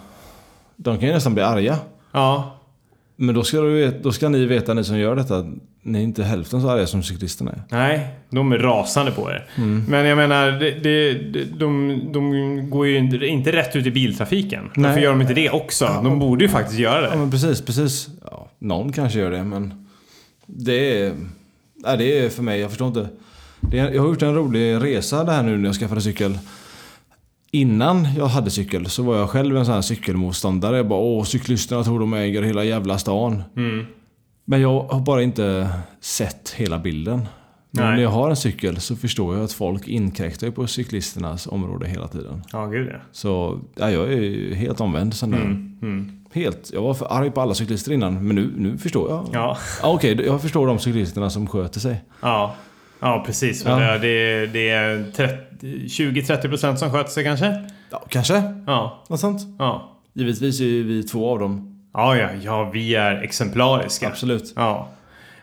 Speaker 2: De kan ju nästan bli arga.
Speaker 1: Ja.
Speaker 2: Men då ska, du, vet- då ska ni veta, ni som gör detta, att ni är inte hälften så arga som cyklisterna är.
Speaker 1: Nej, de är rasande på er.
Speaker 2: Mm.
Speaker 1: Men jag menar, det, det, det- de, de går ju inte- inte rätt ut i biltrafiken.
Speaker 2: Nej.
Speaker 1: Varför gör de inte det också? De borde ju faktiskt göra
Speaker 2: Ja
Speaker 1: det.
Speaker 2: men precis, precis. Ja, någon kanske gör det men det är, nej, det är för mig, jag förstår inte. Det är, jag har gjort en rolig resa det här nu när jag skaffade cykel. Innan jag hade cykel så var jag själv en sån här cykelmotståndare. Jag bara åh, cyklisterna tror de äger hela jävla stan.
Speaker 1: Mm.
Speaker 2: Men jag har bara inte sett hela bilden. Men
Speaker 1: Nej.
Speaker 2: när jag har en cykel så förstår jag att folk inkräktar ju på cyklisternas område hela tiden.
Speaker 1: Ja, gud ja.
Speaker 2: Så ja, jag är ju helt omvänd sen där. Helt. Jag var för arg på alla cyklister innan, men nu, nu förstår jag.
Speaker 1: Ja,
Speaker 2: Ja, Okej, jag förstår de cyklisterna som sköter sig.
Speaker 1: ja. ja precis. Men
Speaker 2: Ja.
Speaker 1: Det, är- det är 30 20-30% som sköter sig kanske?
Speaker 2: Ja, kanske.
Speaker 1: Ja,
Speaker 2: Något sånt.
Speaker 1: ja.
Speaker 2: Givetvis är ju vi två av dem.
Speaker 1: Ja, ja, ja, vi är exemplariska.
Speaker 2: Absolut.
Speaker 1: Ja.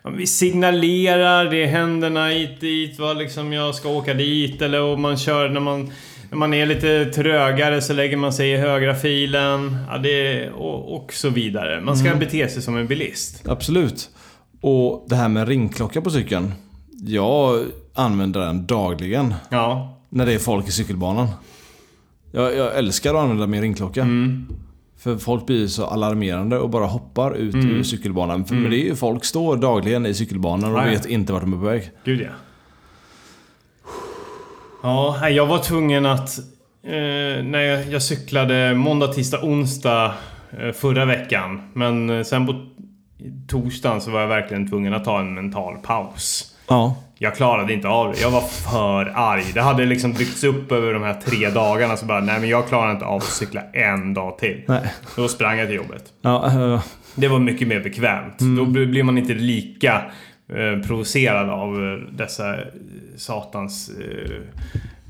Speaker 1: Ja, men Vi signalerar, det är händerna hit dit, vad liksom jag ska åka dit eller och man kör när man... När man är lite trögare så lägger man sig i högra filen ja, det, och, och så vidare. Man ska bete sig som en bilist.
Speaker 2: Absolut. Och det här med ringklocka på cykeln. Jag använder den dagligen
Speaker 1: Ja,
Speaker 2: när det är folk i cykelbanan. Jag, jag älskar att använda min ringklocka. För folk blir så alarmerande och bara hoppar ut ur cykelbanan. För men det är ju folk står dagligen i cykelbanan och
Speaker 1: Ja, ja.
Speaker 2: vet inte vart de är på väg.
Speaker 1: Gud ja. Ja, nej, jag var tvungen att... Eh, när jag, jag cyklade måndag, tisdag, onsdag eh, förra veckan. Men eh, sen på torsdagen så var jag verkligen tvungen att ta en mental paus.
Speaker 2: Ja.
Speaker 1: Jag klarade inte av det. Jag var för arg. Det hade liksom byggts upp över de här tre dagarna. Så bara, nej men jag klarar inte av att cykla en dag till.
Speaker 2: Nej.
Speaker 1: Då sprang jag till jobbet.
Speaker 2: Ja, eh,
Speaker 1: Det var mycket mer bekvämt. Då bl- blir man inte lika eh, provocerad av eh, dessa eh, satans eh,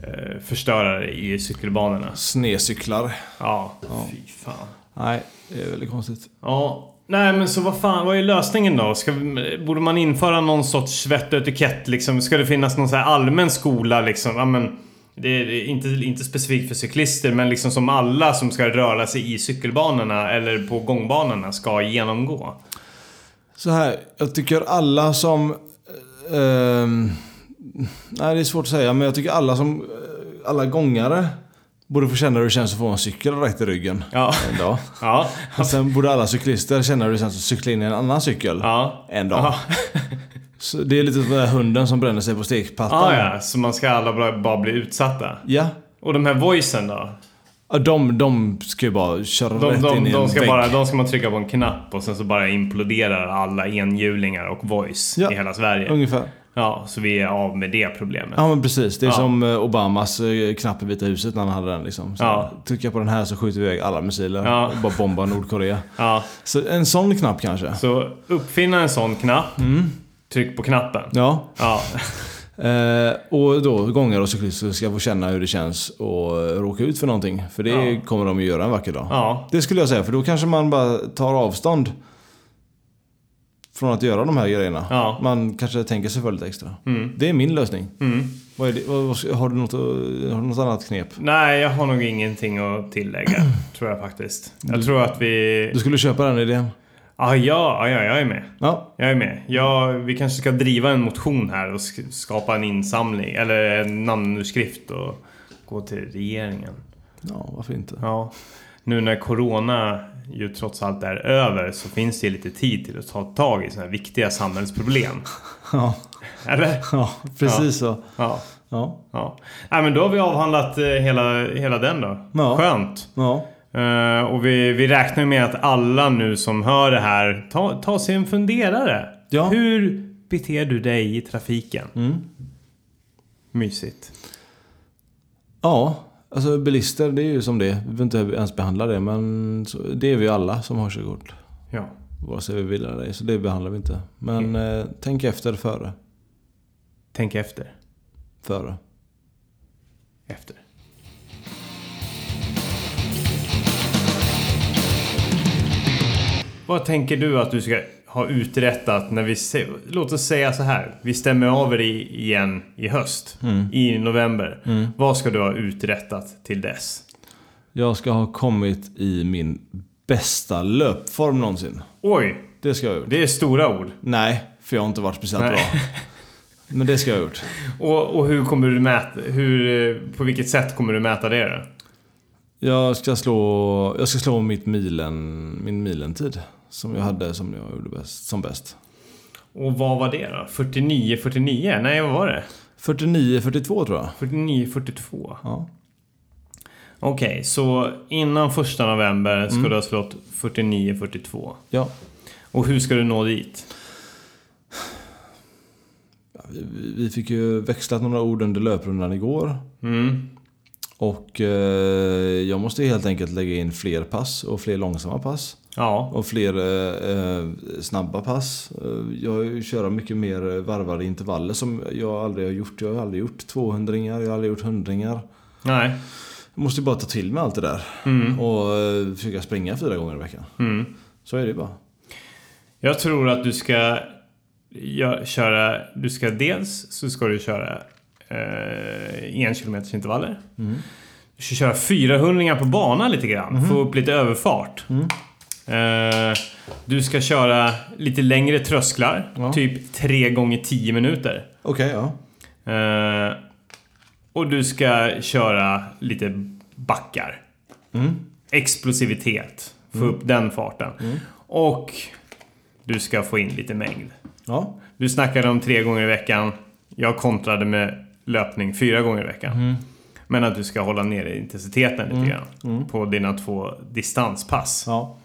Speaker 1: eh, förstörare i cykelbanorna.
Speaker 2: snecyklar.
Speaker 1: Ja, fy fan.
Speaker 2: Nej, det är väldigt konstigt.
Speaker 1: Ja. Nej men så vad fan, vad är lösningen då? Ska, vi- borde man införa någon sorts svett och etikett liksom? Ska det finnas någon så här allmän skola liksom? Ja, men, det är det är inte, inte specifikt för cyklister men liksom som alla som ska röra sig i cykelbanorna eller på gångbanorna ska genomgå.
Speaker 2: Så här, jag tycker alla som... ehm, nej, det är svårt att säga, men jag tycker alla som... eh, alla gångare borde få känna hur det känns att få en cykel rätt i ryggen.
Speaker 1: Ja.
Speaker 2: En dag.
Speaker 1: Ja.
Speaker 2: Och sen borde alla cyklister känna hur det känns att cykla in i en annan cykel.
Speaker 1: Ja.
Speaker 2: En dag.
Speaker 1: Ja.
Speaker 2: Så det är lite som den där hunden som bränner sig på stekplattan.
Speaker 1: Ah, ja, så man ska alla bara, bara bli utsatta.
Speaker 2: ja.
Speaker 1: Och de här voicen då?
Speaker 2: Ja, De, de ska ju bara köra
Speaker 1: De,
Speaker 2: rätt in
Speaker 1: de,
Speaker 2: i en
Speaker 1: de, ska
Speaker 2: vägg.
Speaker 1: bara, de ska man trycka på en knapp och sen så bara imploderar alla enhjulingar och voice
Speaker 2: Ja.
Speaker 1: i hela Sverige.
Speaker 2: Ungefär.
Speaker 1: Ja, så vi är av med det problemet.
Speaker 2: Ja men precis. Det är
Speaker 1: Ja.
Speaker 2: som eh, Obamas eh, knapp i Vita huset när han hade den liksom. Så
Speaker 1: Ja.
Speaker 2: Trycka på den här så skjuter vi iväg alla missiler
Speaker 1: Ja.
Speaker 2: och bara bombar Nordkorea.
Speaker 1: Ja,
Speaker 2: Så en sån knapp kanske?
Speaker 1: så uppfinna en sån knapp. Tryck på knappen.
Speaker 2: Ja.
Speaker 1: Ja.
Speaker 2: Eh, och då gångare och cyklister ska få känna hur det känns att råka ut för någonting. För det
Speaker 1: Ja.
Speaker 2: kommer de ju göra en vacker dag.
Speaker 1: ja.
Speaker 2: Det skulle jag säga, för då kanske man bara tar avstånd från att göra de här grejerna.
Speaker 1: Ja.
Speaker 2: Man kanske tänker sig för lite extra. Det är min lösning. Vad är det? Vad, vad, har, du något, har du något annat knep?
Speaker 1: Nej, jag har nog ingenting att tillägga. *clears throat* tror jag faktiskt. Jag tror att vi...
Speaker 2: Du skulle köpa den idén?
Speaker 1: Ah, ja, ja, ja, jag är med.
Speaker 2: Ja,
Speaker 1: Jag är med. Jag, vi kanske ska driva en motion här och sk- skapa en insamling eller en namnunderskrift och gå till regeringen.
Speaker 2: Ja, varför inte?
Speaker 1: Ja. Nu när corona ju trots allt är över så finns det ju lite tid till att ta tag i sådana här viktiga samhällsproblem. *laughs*
Speaker 2: *laughs* Ja,
Speaker 1: Eller?
Speaker 2: ja precis så.
Speaker 1: Ja.
Speaker 2: Ja.
Speaker 1: ja. Nej, men då har vi avhandlat eh, hela, hela den då.
Speaker 2: Ja.
Speaker 1: Skönt.
Speaker 2: ja.
Speaker 1: Eh, och vi, vi räknar med att alla nu som hör det här ta, ta sig en funderare.
Speaker 2: Ja. Mm.
Speaker 1: Hur beter du dig i trafiken? Mysigt.
Speaker 2: Ja, alltså bilister det är ju som det är. Vi behöver inte ens behandla det men så, det är vi ju alla som har körkort.
Speaker 1: Ja.
Speaker 2: Vare sig vi vill eller ej, så det behandlar vi inte. Men eh, tänk efter före.
Speaker 1: Tänk efter.
Speaker 2: Före.
Speaker 1: Efter. Vad tänker du att du ska ha uträttat när vi... se- Låt oss säga så här. Vi stämmer av er i- igen i höst. I november. Vad ska du ha uträttat till dess?
Speaker 2: Jag ska ha kommit i min bästa löpform någonsin.
Speaker 1: Oj!
Speaker 2: Det ska jag ha gjort.
Speaker 1: Det är stora ord.
Speaker 2: Nej, för jag har inte varit speciellt
Speaker 1: Nej.
Speaker 2: bra. Men det ska jag ha gjort.
Speaker 1: Och, och hur kommer du mäta... Hur, eh, på vilket sätt kommer du mäta det då?
Speaker 2: Jag ska slå, jag ska slå mitt milen, min milentid. Som jag hade som jag gjorde bäst, som bäst.
Speaker 1: Och vad var det då? 49, 49? Nej, vad var det?
Speaker 2: 49-42 tror jag.
Speaker 1: 49, 42?
Speaker 2: Ja.
Speaker 1: Okej, så innan första november ska du ha slått 49-42.
Speaker 2: Ja.
Speaker 1: Och hur ska du nå dit?
Speaker 2: Vi vi fick ju växlat några ord under löprundan igår.
Speaker 1: Mm.
Speaker 2: Och eh, jag måste helt enkelt lägga in fler pass och fler långsamma pass.
Speaker 1: Ja.
Speaker 2: Och fler eh, eh, snabba pass. Eh, Jag kör mycket mer eh, varvade intervaller som jag aldrig har gjort. Jag har aldrig gjort 200 jag har aldrig gjort 100 Jag
Speaker 1: Nej.
Speaker 2: måste ju bara ta till mig allt det där.
Speaker 1: Mm.
Speaker 2: Och eh, försöka springa fyra gånger i veckan.
Speaker 1: Mm.
Speaker 2: Så är det ju bara.
Speaker 1: Jag tror att du ska gö- köra... Du ska dels så ska du köra eh, enkilometersintervaller. Du ska köra 400 på banan lite grann. Få upp lite överfart. Eh, du ska köra lite längre trösklar.
Speaker 2: Ja.
Speaker 1: Typ 3 gånger 10 minuter.
Speaker 2: Okej, ja.
Speaker 1: Eh, och du ska köra lite backar. Explosivitet. Få upp den farten. Och du ska få in lite mängd.
Speaker 2: Ja,
Speaker 1: Du snackade om tre gånger i veckan. Jag kontrade med löpning fyra gånger i veckan. Men att du ska hålla nere intensiteten lite grann. På dina två distanspass.
Speaker 2: ja.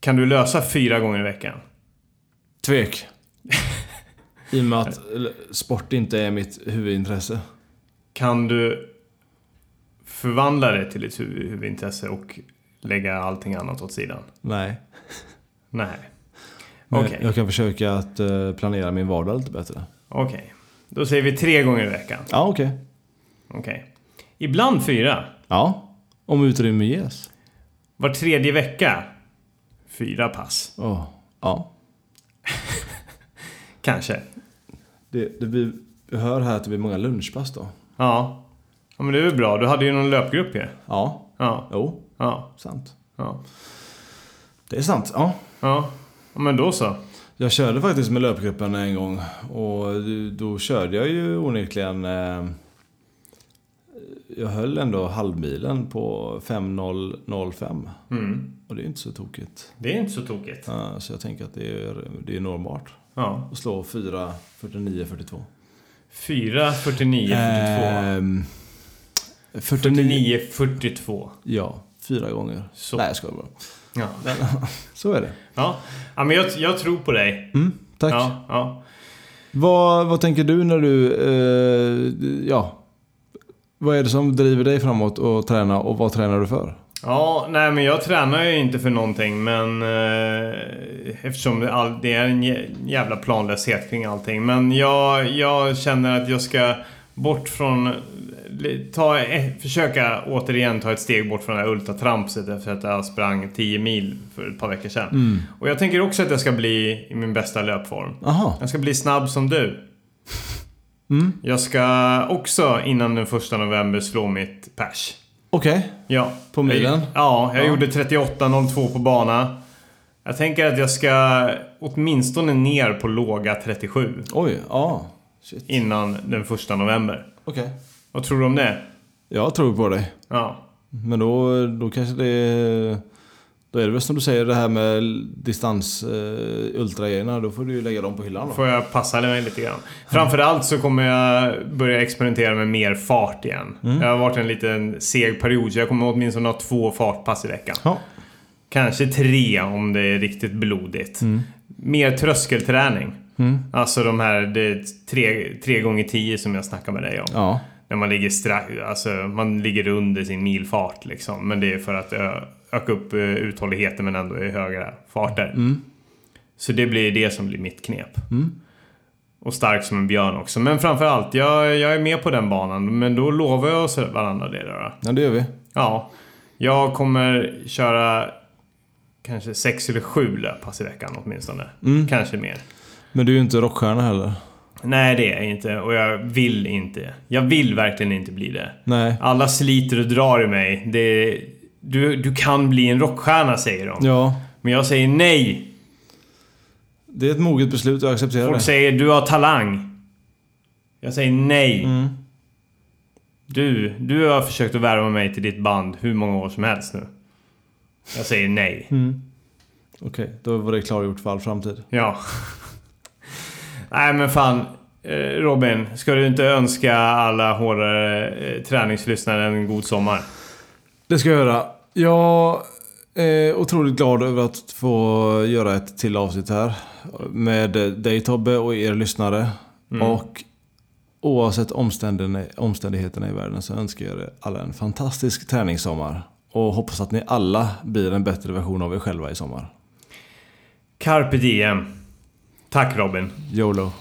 Speaker 1: Kan du lösa fyra gånger i veckan?
Speaker 2: Tvek. *laughs* I och med att l- sport inte är mitt huvudintresse.
Speaker 1: Kan du förvandla det till ett huv- huvudintresse och lägga allting annat åt sidan?
Speaker 2: Nej.
Speaker 1: Nej.
Speaker 2: Men
Speaker 1: Okej.
Speaker 2: Jag kan försöka att eh, planera min vardag lite bättre.
Speaker 1: Okej. Då säger vi tre gånger i veckan.
Speaker 2: Ja, okej.
Speaker 1: Okej. Ibland fyra.
Speaker 2: Ja. Om utrymme ges.
Speaker 1: Var tredje vecka. Fyra pass.
Speaker 2: Åh, Ja.
Speaker 1: Kanske.
Speaker 2: Det, det blir, vi hör här att det blir många lunchpass då.
Speaker 1: Ja. ja men det är väl bra. Du hade ju någon löpgrupp ju.
Speaker 2: Ja.
Speaker 1: Ja.
Speaker 2: Jo,
Speaker 1: Ja.
Speaker 2: sant.
Speaker 1: Ja.
Speaker 2: Det är sant. Ja.
Speaker 1: Ja. ja men då så.
Speaker 2: Jag körde faktiskt med löpgruppen en gång och då körde jag ju onekligen... Eh, jag höll ändå halvmilen på 5.005
Speaker 1: Mm.
Speaker 2: och det är ju inte så tokigt.
Speaker 1: Det är inte så tokigt.
Speaker 2: Eh, Så jag tänker att det är, det är normalt
Speaker 1: Ja.
Speaker 2: att slå 4.49.42.
Speaker 1: Fyra, 49, 42.
Speaker 2: Ehm, 49.
Speaker 1: 49, 42.
Speaker 2: Ja, fyra gånger.
Speaker 1: Så.
Speaker 2: Nej, jag skojar bara.
Speaker 1: Ja.
Speaker 2: Så är det.
Speaker 1: Ja. ja men jag, jag tror på dig.
Speaker 2: Mm, tack.
Speaker 1: Ja. Ja.
Speaker 2: Vad, vad tänker du när du... Eh, ja. Vad är det som driver dig framåt och träna och vad tränar du för?
Speaker 1: Ja, nej men jag tränar ju inte för någonting men eh, eftersom det, all, det är en jä- jävla planlöshet kring allting. Men jag, jag känner att jag ska bort från... li- Ta, eh, försöka återigen ta ett steg bort från det här ultratrampset efter att jag sprang 10 mil för ett par veckor sedan. Och jag tänker också att jag ska bli i min bästa löpform.
Speaker 2: Aha.
Speaker 1: Jag ska bli snabb som du.
Speaker 2: Mm.
Speaker 1: Jag ska också innan den första november slå mitt pers.
Speaker 2: Okej.
Speaker 1: Ja.
Speaker 2: På milen?
Speaker 1: Ja, jag
Speaker 2: Ja.
Speaker 1: gjorde 38.02 på bana. Jag tänker att jag ska åtminstone ner på låga 37
Speaker 2: Oj, ja. Shit.
Speaker 1: innan den första november.
Speaker 2: Okej.
Speaker 1: Vad tror du om det?
Speaker 2: Jag tror på dig.
Speaker 1: Ja.
Speaker 2: Men då, då kanske det... Då är det väl som du säger det här med distans eh, ultragrejerna. Då får du ju lägga dem på hyllan då.
Speaker 1: Får jag passa mig lite grann. Framförallt så kommer jag börja experimentera med mer fart igen.
Speaker 2: Mm.
Speaker 1: Det har varit en liten seg period så jag kommer åtminstone ha två fartpass i veckan.
Speaker 2: Ja.
Speaker 1: Kanske tre om det är riktigt blodigt. Mer tröskelträning. Alltså de här det, tre, tre gånger tio som jag snackade med dig om.
Speaker 2: Ja.
Speaker 1: När man ligger, stra- alltså, man ligger under sin milfart liksom. Men det är för att ö- öka upp eh, uthålligheten men ändå i högre farter. Så det blir det som blir mitt knep. Och stark som en björn också. Men framförallt, jag, jag är med på den banan. Men då lovar jag oss varandra det där.
Speaker 2: ja, det gör vi.
Speaker 1: Ja. Jag kommer köra kanske sex eller sju löppass i veckan åtminstone.
Speaker 2: Mm.
Speaker 1: Kanske mer.
Speaker 2: Men du är ju inte rockstjärna heller.
Speaker 1: Nej, det är jag inte. Och jag vill inte. Jag vill verkligen inte bli det.
Speaker 2: Nej.
Speaker 1: Alla sliter och drar i mig. Det, du, du kan bli en rockstjärna, säger de.
Speaker 2: Ja.
Speaker 1: Men jag säger nej.
Speaker 2: Det är ett moget beslut och jag accepterar
Speaker 1: Folk
Speaker 2: det.
Speaker 1: säger du har talang. Jag säger nej.
Speaker 2: Mm.
Speaker 1: Du, du har försökt att värva mig till ditt band hur många år som helst nu. Jag säger nej.
Speaker 2: Okej, då var det klargjort för all framtid.
Speaker 1: Ja. *laughs* Nej men fan. Eh, Robin, ska du inte önska alla hårdare eh, träningslyssnare en god sommar?
Speaker 2: Det ska jag göra. Jag är otroligt glad över att få göra ett till avsnitt här. Med dig Tobbe och er lyssnare. Och oavsett omständigheterna, omständigheterna i världen så önskar jag er alla en fantastisk träningssommar. Och hoppas att ni alla blir en bättre version av er själva i sommar.
Speaker 1: Carpe diem. Tack Robin.
Speaker 2: YOLO.